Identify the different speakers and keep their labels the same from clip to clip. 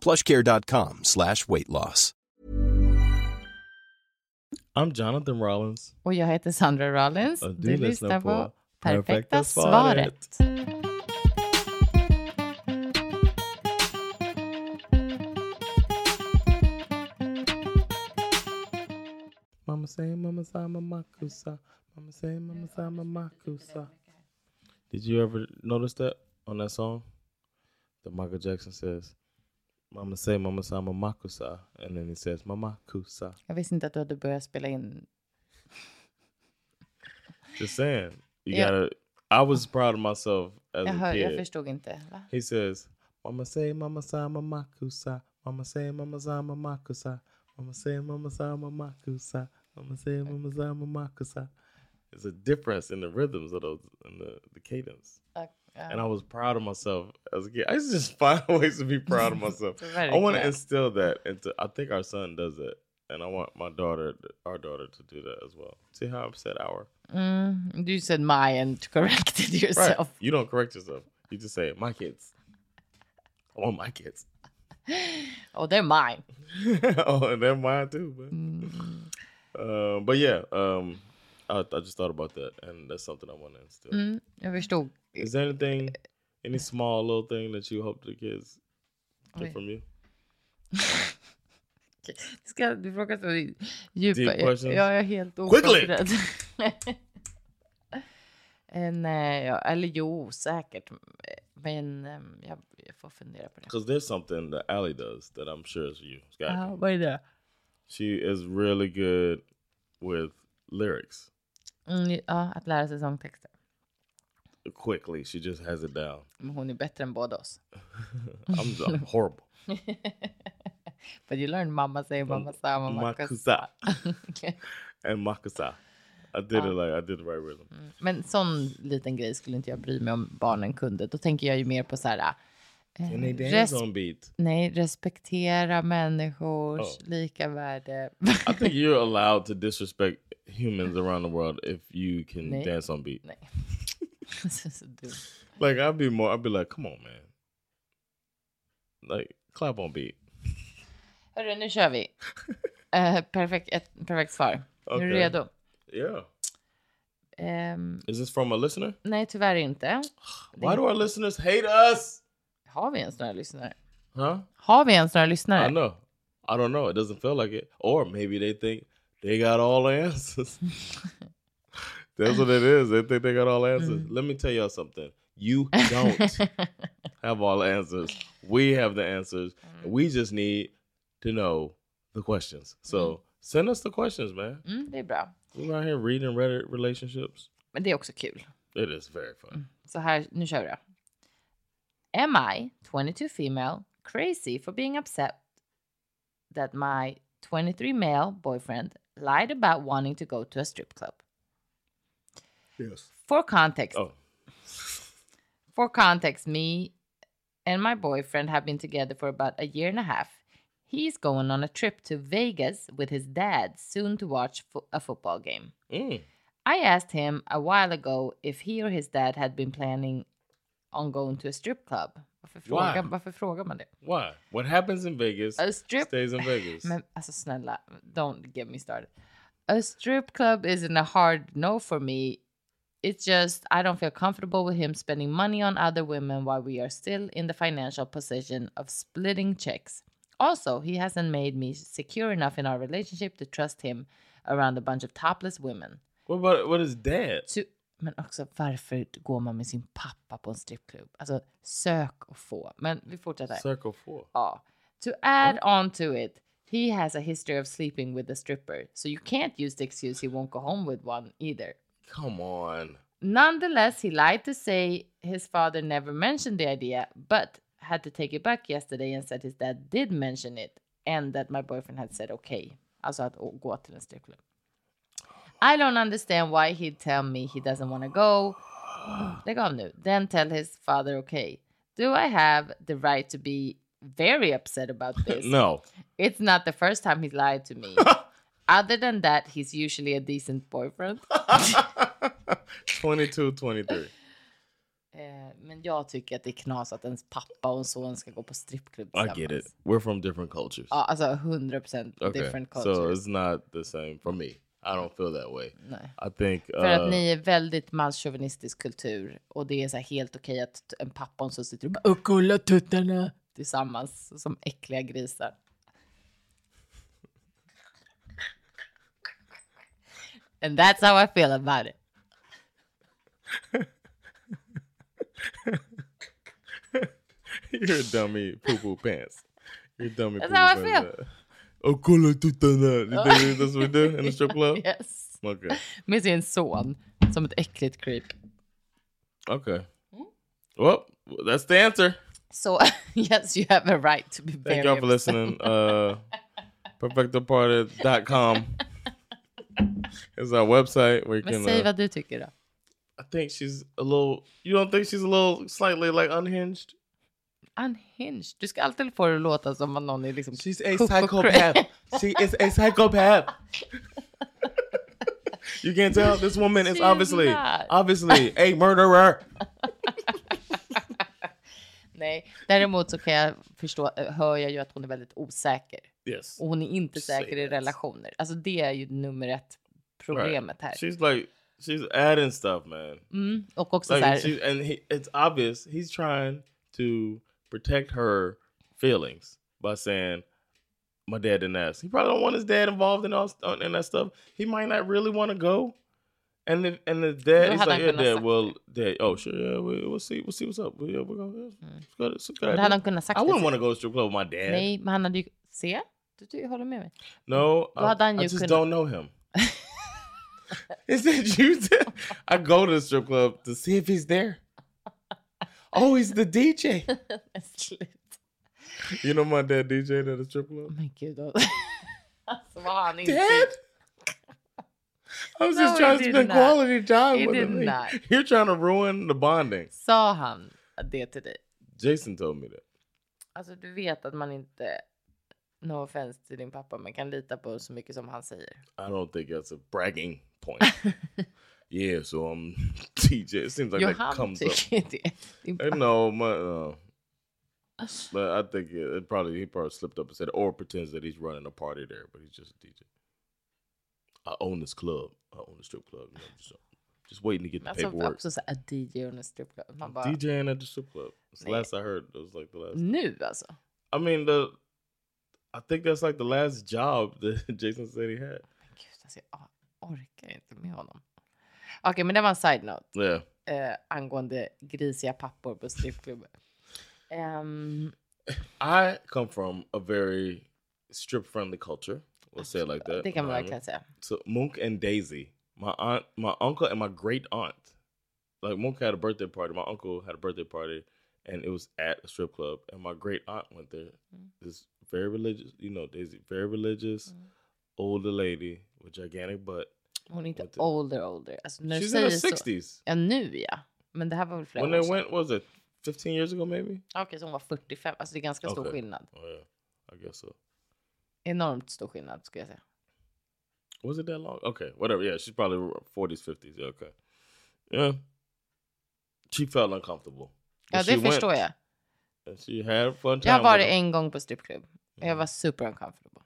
Speaker 1: Plushcare.com slash weight loss.
Speaker 2: I'm Jonathan Rollins.
Speaker 3: Och jag heter Sandra Rollins.
Speaker 2: Och du lyssnar på
Speaker 3: Perfekta,
Speaker 2: Perfekta
Speaker 3: svaret.
Speaker 2: Mamma say, mamma say, mamma kusa. Mamma say, mamma say, mamma kusa. Did you ever notice that on that song? That Michael Jackson says, Mama say, mama say, mama kusa. And then he says, mama kusa.
Speaker 3: Jag visste inte att du hade börjat spela in.
Speaker 2: Just saying. You
Speaker 3: Yeah. Uh-huh,
Speaker 2: gotta, I was proud of myself as
Speaker 3: Jag, hör,
Speaker 2: a
Speaker 3: jag
Speaker 2: kid.
Speaker 3: förstod inte. Va?
Speaker 2: He says, Mama say, Mama say, Mama kusa. Mama say, Mama say, Mama kusa. Mama say, Mama say, Mama kusa. Mama say, Mama say, Mama kusa. It's a difference in the rhythms of those, in the, the cadence.
Speaker 3: Och, ja.
Speaker 2: And I was proud of myself as a kid. I used to just find ways to be proud of myself.
Speaker 3: Very
Speaker 2: I want to
Speaker 3: good.
Speaker 2: instill that into, I think our son does it. And I want my daughter, our daughter, to do that as well. See how I'm said our.
Speaker 3: Mm, you said my and corrected
Speaker 2: Right.
Speaker 3: yourself.
Speaker 2: You don't correct yourself. You just say, my kids. I want my kids.
Speaker 3: Oh, they're mine.
Speaker 2: oh, and they're mine too. But, Uh, but yeah, um, I, I just thought about that, and that's something I want to instill.
Speaker 3: Mm, jag förstod.
Speaker 2: Is there anything, any small little thing that you hope the kids get
Speaker 3: Wait.
Speaker 2: from you?
Speaker 3: Okej. Du, ska, du frågar så djupa...
Speaker 2: Deep
Speaker 3: Jag,
Speaker 2: questions.
Speaker 3: jag är helt
Speaker 2: Quickly!
Speaker 3: oförberedd. Eh, Nej, ja, eller jo, säkert. Men ehm, jag, jag får fundera på det.
Speaker 2: Because there's something that Allie does that I'm sure is you, Scott.
Speaker 3: Ja, vad är det?
Speaker 2: She is really good with lyrics.
Speaker 3: Mm, ja, att lära sig sångtexter.
Speaker 2: Quickly, she just has it down.
Speaker 3: Men hon är bättre än båda oss.
Speaker 2: I'm, I'm horrible.
Speaker 3: But you learn mamma säger mamma sa mamma kus.
Speaker 2: Makusa and Makusa. I did it like I did the right rhythm.
Speaker 3: Men sån liten grej skulle inte jag bry mig om barnen kunde. Då tänker jag ju mer på så här. eh,
Speaker 2: And they dance
Speaker 3: res-
Speaker 2: on beat.
Speaker 3: nej, respektera människors
Speaker 2: Oh.
Speaker 3: lika värde.
Speaker 2: I think you're allowed to disrespect humans around the world if you can
Speaker 3: Nej.
Speaker 2: dance on beat.
Speaker 3: nej. Så- så dumt.
Speaker 2: Like I'd be more, I'd be like, come on, man, like clap on beat.
Speaker 3: Hörru, nu kör vi. Eh, perfekt, ett perfekt svar. Är du
Speaker 2: Okej.
Speaker 3: redo?
Speaker 2: Yeah,
Speaker 3: Ehm,
Speaker 2: is this from a listener?
Speaker 3: nej, tyvärr inte.
Speaker 2: Why do our listeners hate us?
Speaker 3: Har vi ens några lyssnare?
Speaker 2: Huh?
Speaker 3: Har vi ens några
Speaker 2: I
Speaker 3: lyssnare?
Speaker 2: know. I don't know. It doesn't feel like it. Or maybe they think they got all the answers. That's what it is. They think they got all the answers. Let me tell y'all something. You don't have all the answers. We have the answers.
Speaker 3: Mm-hmm.
Speaker 2: We just need to know the questions.
Speaker 3: Mm-hmm.
Speaker 2: So send us the questions, man.
Speaker 3: Mm, det är bra.
Speaker 2: We're out here reading Reddit relationships.
Speaker 3: Men det är också kul.
Speaker 2: It is very fun.
Speaker 3: Så här, nu kör vi då. Am I, 22 female, crazy for being upset that my 23 male boyfriend lied about wanting to go to a strip club?
Speaker 2: Yes.
Speaker 3: For context,
Speaker 2: Oh,
Speaker 3: for context, me and my boyfriend have been together for about a year and a half. He's going on a trip to Vegas with his dad soon to watch fo- a football game.
Speaker 2: Mm.
Speaker 3: I asked him a while ago if he or his dad had been planning on going to a strip club. Varför frågar,
Speaker 2: Why?
Speaker 3: varför frågar man det?
Speaker 2: why? What happens in Vegas
Speaker 3: A strip-
Speaker 2: stays in Vegas.
Speaker 3: Men alltså snälla, don't get me started. A strip club isn't a hard no for me. It's just I don't feel comfortable with him spending money on other women while we are still in the financial position of splitting checks. Also, he hasn't made me secure enough in our relationship to trust him around a bunch of topless women.
Speaker 2: What about what is dad?
Speaker 3: Så- Men också varför går man med sin pappa på en strippklubb? Alltså sök och få. Men vi fortsätter.
Speaker 2: Circle four.
Speaker 3: Ja. To add on to it, he has a history of sleeping with a stripper. So you can't use the excuse he won't go home with one either.
Speaker 2: Come on.
Speaker 3: Nonetheless, he lied to say his father never mentioned the idea, but had to take it back yesterday and said his dad did mention it. and that my boyfriend had said okay. Alltså att å- gå till en strippklubb. I don't understand why he'd tell me he doesn't want to go. Lägg av nu. Then tell his father okay. Do I have the right to be very upset about this?
Speaker 2: No.
Speaker 3: It's not the first time he's lied to me. Other than that, he's usually a decent boyfriend.
Speaker 2: 22, 23.
Speaker 3: Eh, men jag tycker att det är knas att ens pappa och son ska gå på strippklubb
Speaker 2: I
Speaker 3: tillsammans.
Speaker 2: get it. We're from different cultures.
Speaker 3: Ja, alltså 100% Uh, different
Speaker 2: So
Speaker 3: cultures. Mm.
Speaker 2: it's not the same for me. I don't feel that way.
Speaker 3: Nej.
Speaker 2: I think
Speaker 3: För
Speaker 2: uh,
Speaker 3: att ni är väldigt manschauvinistisk kultur och det är så här helt okej att t- en pappa och en son sitter och bara "Åh, kolla tuttarna tillsammans som äckliga grisar. And that's how I feel about it.
Speaker 2: you're a dummy poo poo pants. You're a dummy
Speaker 3: That's
Speaker 2: poo-poo
Speaker 3: how I Oh.
Speaker 2: pants. Oh, cool, I took that. Is that- That's what we do in the strip club?
Speaker 3: Yes.
Speaker 2: Okay.
Speaker 3: Med sin son som ett äckligt creep.
Speaker 2: Okay.
Speaker 3: Hmm?
Speaker 2: Well, that's the answer.
Speaker 3: So yes, you have a right to be
Speaker 2: Thank
Speaker 3: very
Speaker 2: y'all for
Speaker 3: upset.
Speaker 2: listening. Uh, perfectoparty.com is our website where you
Speaker 3: Men
Speaker 2: can.
Speaker 3: säg
Speaker 2: Uh,
Speaker 3: vad du tycker då.
Speaker 2: I think she's a little. You don't think she's a little slightly like unhinged?
Speaker 3: Unhinged. Du ska alltid få det att låta som att någon är liksom...
Speaker 2: She's a
Speaker 3: Cuckoo
Speaker 2: psychopath. she is a psychopath. you can't tell this woman is
Speaker 3: She's
Speaker 2: obviously,
Speaker 3: not.
Speaker 2: obviously a murderer.
Speaker 3: Nej. Däremot så kan jag förstå, eh, hör jag ju att hon är väldigt osäker.
Speaker 2: Yes.
Speaker 3: Och hon är inte
Speaker 2: Say
Speaker 3: säker i
Speaker 2: that.
Speaker 3: relationer. Alltså det är ju nummer ett problemet här.
Speaker 2: She's like, she's adding stuff, man.
Speaker 3: Mm. Och också så
Speaker 2: Like,
Speaker 3: här,
Speaker 2: she, and he, it's obvious he's trying to protect her feelings by saying, "My dad didn't ask." He probably don't want his dad involved in all in that stuff. He might not really want to go. And the and the dad,
Speaker 3: Då
Speaker 2: he's
Speaker 3: hade
Speaker 2: like,
Speaker 3: han
Speaker 2: "Yeah,
Speaker 3: kunnat
Speaker 2: dad.
Speaker 3: sagt
Speaker 2: Well, dad. Oh, sure. Yeah, we, we'll see. We'll see what's up. Yeah, we're gonna. Yeah, it's good, it's good
Speaker 3: det
Speaker 2: idea.
Speaker 3: hade han kunnat sagt.
Speaker 2: I wouldn't
Speaker 3: till
Speaker 2: want to go to strip club with my
Speaker 3: sig.
Speaker 2: dad.
Speaker 3: Nej, men han hade ju... Se? Du, du håller med mig.
Speaker 2: No,
Speaker 3: Då hade
Speaker 2: I,
Speaker 3: han
Speaker 2: I
Speaker 3: ju
Speaker 2: just
Speaker 3: kunnat-
Speaker 2: don't know him. Is that you? I go to the strip club to see if he's there. Oh, he's the DJ.
Speaker 3: Slut.
Speaker 2: You know my dad DJed at a strip club.
Speaker 3: Men gud. då- Oh Alltså vad har han inte...
Speaker 2: Dad, I was
Speaker 3: No,
Speaker 2: just trying to
Speaker 3: he did
Speaker 2: spend
Speaker 3: not.
Speaker 2: quality time
Speaker 3: He
Speaker 2: with
Speaker 3: did
Speaker 2: him. Like,
Speaker 3: not.
Speaker 2: You're trying to ruin the bonding.
Speaker 3: Sa han det till dig?
Speaker 2: Jason told me that.
Speaker 3: Alltså du vet att man inte, no offense till din pappa, men kan lita på så mycket som han säger.
Speaker 2: I don't think that's a bragging point. yeah, so I'm DJ. It seems like
Speaker 3: jo,
Speaker 2: that
Speaker 3: han
Speaker 2: comes up.
Speaker 3: tycker det. Din
Speaker 2: I
Speaker 3: pappa.
Speaker 2: know, my, uh, but I think it, it probably he probably slipped up and said, or pretends that he's running a party there, but he's just a DJ. I own this club. I own the strip club. You know, just, just waiting to get
Speaker 3: Men
Speaker 2: the
Speaker 3: Alltså
Speaker 2: paperwork.
Speaker 3: också så här, a DJ och en stripclub. Man bara,
Speaker 2: DJing at the strip club. It's the
Speaker 3: Man.
Speaker 2: last I heard. It was like Mm-hmm. the last.
Speaker 3: nu alltså.
Speaker 2: I mean, the I think that's like the last job that Jason said he had.
Speaker 3: Men gud, alltså jag orkar inte med honom. Okej, men det var en side note
Speaker 2: Yeah.
Speaker 3: eh, angående grisiga pappor på strippklubbar. Ehm,
Speaker 2: I come from a very strip friendly culture. We'll say it like that.
Speaker 3: det kan man
Speaker 2: Um,
Speaker 3: verkligen säga.
Speaker 2: So Monk and Daisy, my aunt, my uncle, and my great aunt. Like Monk had a birthday party. My uncle had a birthday party, and it was at a strip club. And my great aunt went there.
Speaker 3: Mm.
Speaker 2: This very religious, you know, Daisy, very religious,
Speaker 3: Mm.
Speaker 2: older lady with gigantic butt.
Speaker 3: Hon är inte
Speaker 2: Vet du-
Speaker 3: older older. Alltså när du
Speaker 2: She's in her
Speaker 3: säger så.
Speaker 2: sixties.
Speaker 3: Ja, nu ja. Men det här var väl flera
Speaker 2: When
Speaker 3: år
Speaker 2: they
Speaker 3: sedan.
Speaker 2: went, what was it, fifteen years ago, maybe?
Speaker 3: Okej, så hon var 45. Alltså det är ganska stor
Speaker 2: Okej.
Speaker 3: skillnad.
Speaker 2: Oh yeah, I guess so.
Speaker 3: Enormt stor skillnad skulle jag säga.
Speaker 2: Was it that long? Okay, whatever. Yeah, she's probably forties, fifties. Yeah, okay. Yeah. She felt uncomfortable.
Speaker 3: Ja,
Speaker 2: But
Speaker 3: det
Speaker 2: she went.
Speaker 3: förstår jag.
Speaker 2: And she had a fun
Speaker 3: Jag
Speaker 2: time
Speaker 3: har varit
Speaker 2: with it.
Speaker 3: en gång på strippklubb. och
Speaker 2: Mm.
Speaker 3: Jag var super uncomfortable.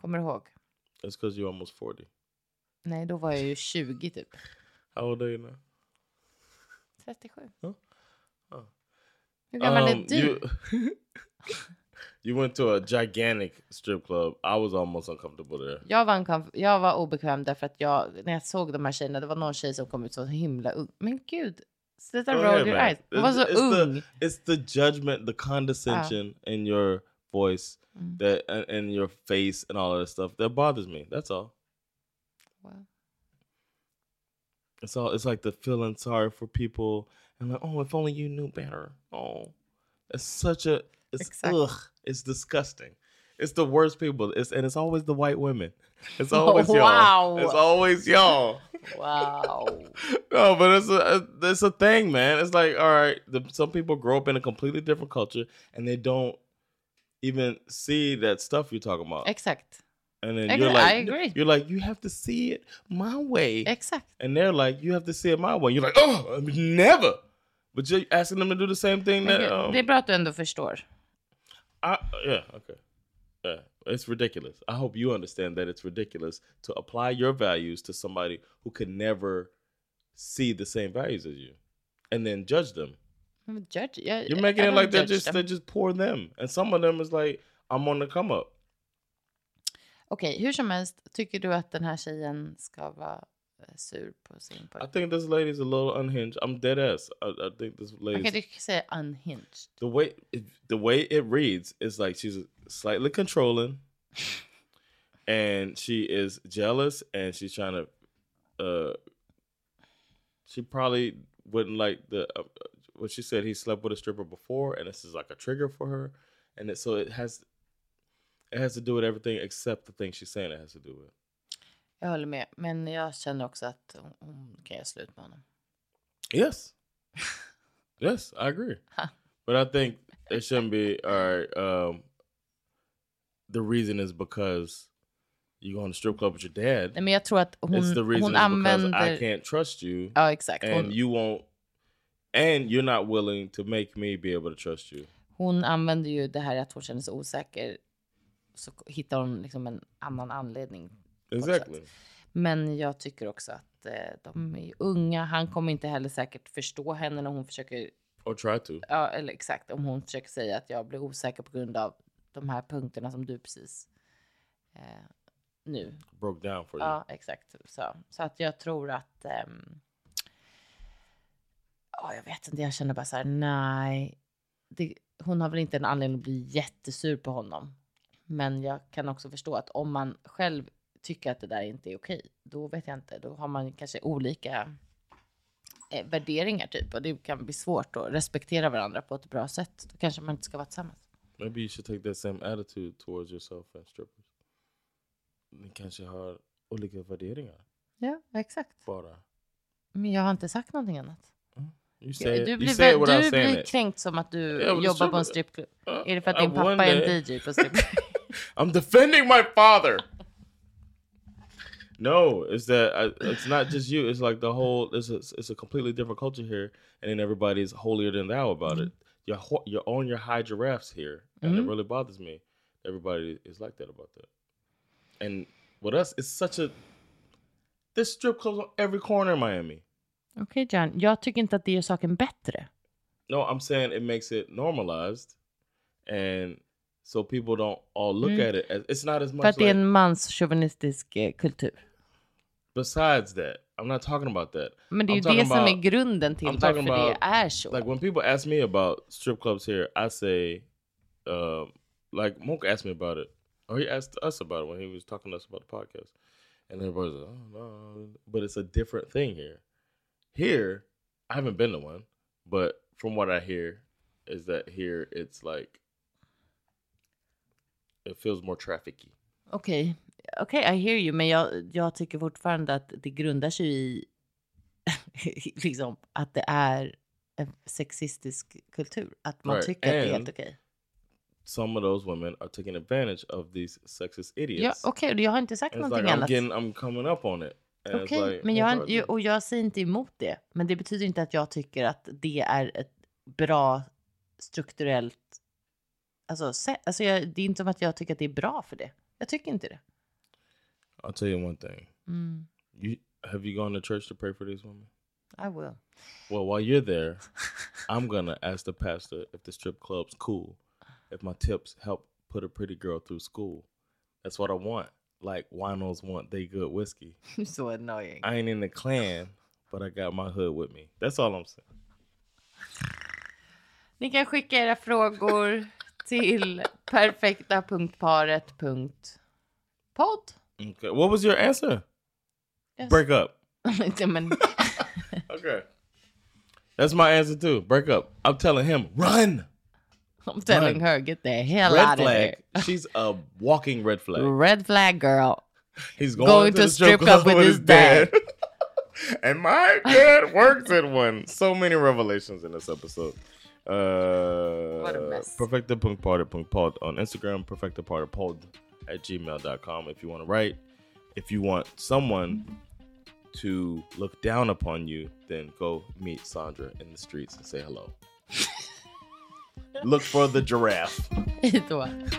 Speaker 3: Kommer du ihåg?
Speaker 2: That's because you're almost 40.
Speaker 3: Nej, då var jag ju 20 typ.
Speaker 2: How old are you now?
Speaker 3: 37.
Speaker 2: Ja. Ja.
Speaker 3: Hur gammal
Speaker 2: Um,
Speaker 3: är du?
Speaker 2: You, you went to a gigantic strip club. I was almost uncomfortable there.
Speaker 3: Jag var, uncomf- jag var obekväm därför att jag, när jag såg de här tjejerna, det var någon tjej som kom ut så himla ung. Men gud, sluta
Speaker 2: Go
Speaker 3: roll
Speaker 2: ahead,
Speaker 3: your
Speaker 2: man.
Speaker 3: eyes. Hon var så ung.
Speaker 2: The, it's the judgment, the condescension in your voice,
Speaker 3: Mm.
Speaker 2: that and, and your face, and all of that stuff that bothers me. That's all.
Speaker 3: Wow.
Speaker 2: It's all. It's like the feeling sorry for people and like, oh, if only you knew better. Oh, it's such a. It's
Speaker 3: Exact-
Speaker 2: ugh. It's disgusting. It's the worst people. It's and it's always the white women. It's always y'all.
Speaker 3: Oh, wow.
Speaker 2: It's always y'all.
Speaker 3: Wow.
Speaker 2: No, but it's a it's a thing, man. It's like all right, the, some people grow up in a completely different culture and they don't even see that stuff you're talking about.
Speaker 3: Exakt.
Speaker 2: And then
Speaker 3: I
Speaker 2: you're like,
Speaker 3: agree- I agree.
Speaker 2: You're like, you have to see it my way,
Speaker 3: Exakt.
Speaker 2: and they're like, you have to see it my way. You're like, oh, I mean, never. But you're asking them to do the same thing that.
Speaker 3: Men det-
Speaker 2: Um,
Speaker 3: Det är bra att du ändå förstår.
Speaker 2: I, yeah, okay. Yeah, it's ridiculous. I hope you understand that it's ridiculous to apply your values to somebody who could never see the same values as you, and then judge them.
Speaker 3: Men Judge, jag,
Speaker 2: You're making
Speaker 3: I
Speaker 2: it
Speaker 3: don't
Speaker 2: like they're
Speaker 3: judge
Speaker 2: just
Speaker 3: them.
Speaker 2: they're just poor them, and some of them is like I'm on the come up.
Speaker 3: Okej, hur som helst, tycker du att den här tjejen ska vara eh, sur på sin
Speaker 2: I
Speaker 3: pojke?
Speaker 2: think this lady's a little unhinged. I'm dead ass. I, I think this
Speaker 3: Okej,
Speaker 2: lady's
Speaker 3: du kan säga unhinged.
Speaker 2: the way it, the way it reads is like she's slightly controlling and she is jealous and she's trying to uh she probably wouldn't like the uh, what she said he slept with a stripper before and this is like a trigger for her and it, so it has it has to do with everything except the thing she's saying it has to do with
Speaker 3: Jag håller med, men jag känner också att hon- hon kan göra slut med honom.
Speaker 2: Yes. yes, I agree. But I think it shouldn't be all right. Um, the reason is because you go on a strip club with your dad.
Speaker 3: Nej, men jag tror att
Speaker 2: it's
Speaker 3: hon,
Speaker 2: the reason is because
Speaker 3: hon
Speaker 2: I
Speaker 3: använder...
Speaker 2: can't trust you,
Speaker 3: Ja, exakt.
Speaker 2: and
Speaker 3: Hon,
Speaker 2: you won't, and you're not willing to make me be able to trust you.
Speaker 3: hon använder ju det här att hon känner sig osäker. Så k- hittar hon liksom en annan anledning.
Speaker 2: Exactly.
Speaker 3: Men jag tycker också att eh, de är ju unga. Han kommer inte heller säkert förstå henne när hon försöker
Speaker 2: Or try to.
Speaker 3: Ja, eller exakt. Om hon försöker säga att jag blir osäker på grund av de här punkterna som du precis eh, nu.
Speaker 2: Broke down for you.
Speaker 3: Ja, exakt. Så, så att jag tror att... ehm, ja, jag vet inte. Jag känner bara så här, nej. Det, hon har väl inte en anledning att bli jättesur på honom. Men jag kan också förstå att om man själv tycker att det där inte är okej, då vet jag inte. Då har man kanske olika eh, värderingar typ och det kan bli svårt att respektera varandra på ett bra sätt. Då kanske man inte ska vara tillsammans.
Speaker 2: Maybe you should take that same attitude towards yourself and strippers. Ni kanske har olika värderingar
Speaker 3: Ja, exakt.
Speaker 2: bara.
Speaker 3: Men jag har inte sagt någonting annat.
Speaker 2: You say, it-
Speaker 3: Du
Speaker 2: you
Speaker 3: blir,
Speaker 2: say it without
Speaker 3: du
Speaker 2: saying
Speaker 3: blir
Speaker 2: it.
Speaker 3: kränkt som att du
Speaker 2: Ja, men det
Speaker 3: jobbar på
Speaker 2: tror-
Speaker 3: en strippklubb.
Speaker 2: Uh,
Speaker 3: Är det för att
Speaker 2: I
Speaker 3: din pappa
Speaker 2: wonder.
Speaker 3: är en DJ på strippklubb?
Speaker 2: I'm defending my father. no, it's that I, it's not just you. It's like the whole. It's a, it's a completely different culture here, and then everybody's holier than thou about it. You're ho- you're on your high giraffes here, and it really bothers me. Everybody is like that about that. And with us, it's such a. There's strip clubs on every corner in Miami.
Speaker 3: Okej John, jag tycker inte att det gör saken bättre.
Speaker 2: No, I'm saying it makes it normalized, and so people don't all look at it. As, it's not as much.
Speaker 3: För att det är
Speaker 2: like-
Speaker 3: en manschauvinistisk eh, kultur.
Speaker 2: besides that, I'm not talking about that.
Speaker 3: Men det är
Speaker 2: I'm
Speaker 3: ju
Speaker 2: talking
Speaker 3: det som är
Speaker 2: about-
Speaker 3: grunden till
Speaker 2: I'm
Speaker 3: varför
Speaker 2: talking
Speaker 3: det
Speaker 2: about,
Speaker 3: är så.
Speaker 2: Like when people ask me about strip clubs here, I say, um, like Monk asked me about it, or he asked us about it when he was talking to us about the podcast, and everybody's like, "Oh no," but it's a different thing here. Here, I haven't been to one, but from what I hear, is that here it's like it feels more trafficky.
Speaker 3: Okej, okej, I hear you. Men jag, jag tycker fortfarande att det grundar sig i liksom, att det är en sexistisk kultur. Att man
Speaker 2: Right,
Speaker 3: tycker att det är helt
Speaker 2: and-
Speaker 3: okej.
Speaker 2: Some of those women are taking advantage of these sexist idiots.
Speaker 3: Ja, okej, och jag har inte sagt
Speaker 2: And it's
Speaker 3: någonting
Speaker 2: like I'm
Speaker 3: annat.
Speaker 2: getting, I'm coming up on it. And it's
Speaker 3: Okej,
Speaker 2: like, oh
Speaker 3: men
Speaker 2: well,
Speaker 3: jag,
Speaker 2: fuck.
Speaker 3: ju- och jag säger inte emot det. Men det betyder inte att jag tycker att det är ett bra strukturellt... Alltså, se, alltså jag, det är inte som att jag tycker att det är bra för det. Jag tycker inte det.
Speaker 2: I'll tell you one thing.
Speaker 3: Mm,
Speaker 2: You have you gone to church to pray for these women?
Speaker 3: I will.
Speaker 2: Well, while you're there, I'm gonna ask the pastor if the strip club's cool, if my tips help put a pretty girl through school. That's what I want. Like winos want they good whiskey.
Speaker 3: so annoying.
Speaker 2: I ain't in the clan, but I got my hood with me. That's all I'm saying.
Speaker 3: Ni kan skicka era frågor till perfekta.paret.podd.
Speaker 2: Okay. What was your answer?
Speaker 3: Yes.
Speaker 2: Break up.
Speaker 3: Nej, men,
Speaker 2: Okay. That's my answer too. Break up. I'm telling him, run.
Speaker 3: I'm telling her, get the hell
Speaker 2: Red
Speaker 3: out
Speaker 2: flag. She's a walking red
Speaker 3: of here.
Speaker 2: flag.
Speaker 3: Red flag, girl.
Speaker 2: He's going,
Speaker 3: Going
Speaker 2: to,
Speaker 3: to
Speaker 2: the strip club with his dad. and my dad works at one. So many revelations in this episode. Uh,
Speaker 3: What a mess.
Speaker 2: Perfected Punk Party Punk Pod on Instagram, Perfected Party Pod at gmail.com if you want to write. If you want someone to look down upon you, then go meet Sandra in the streets and say hello. look for the giraffe.
Speaker 3: Vet du vad?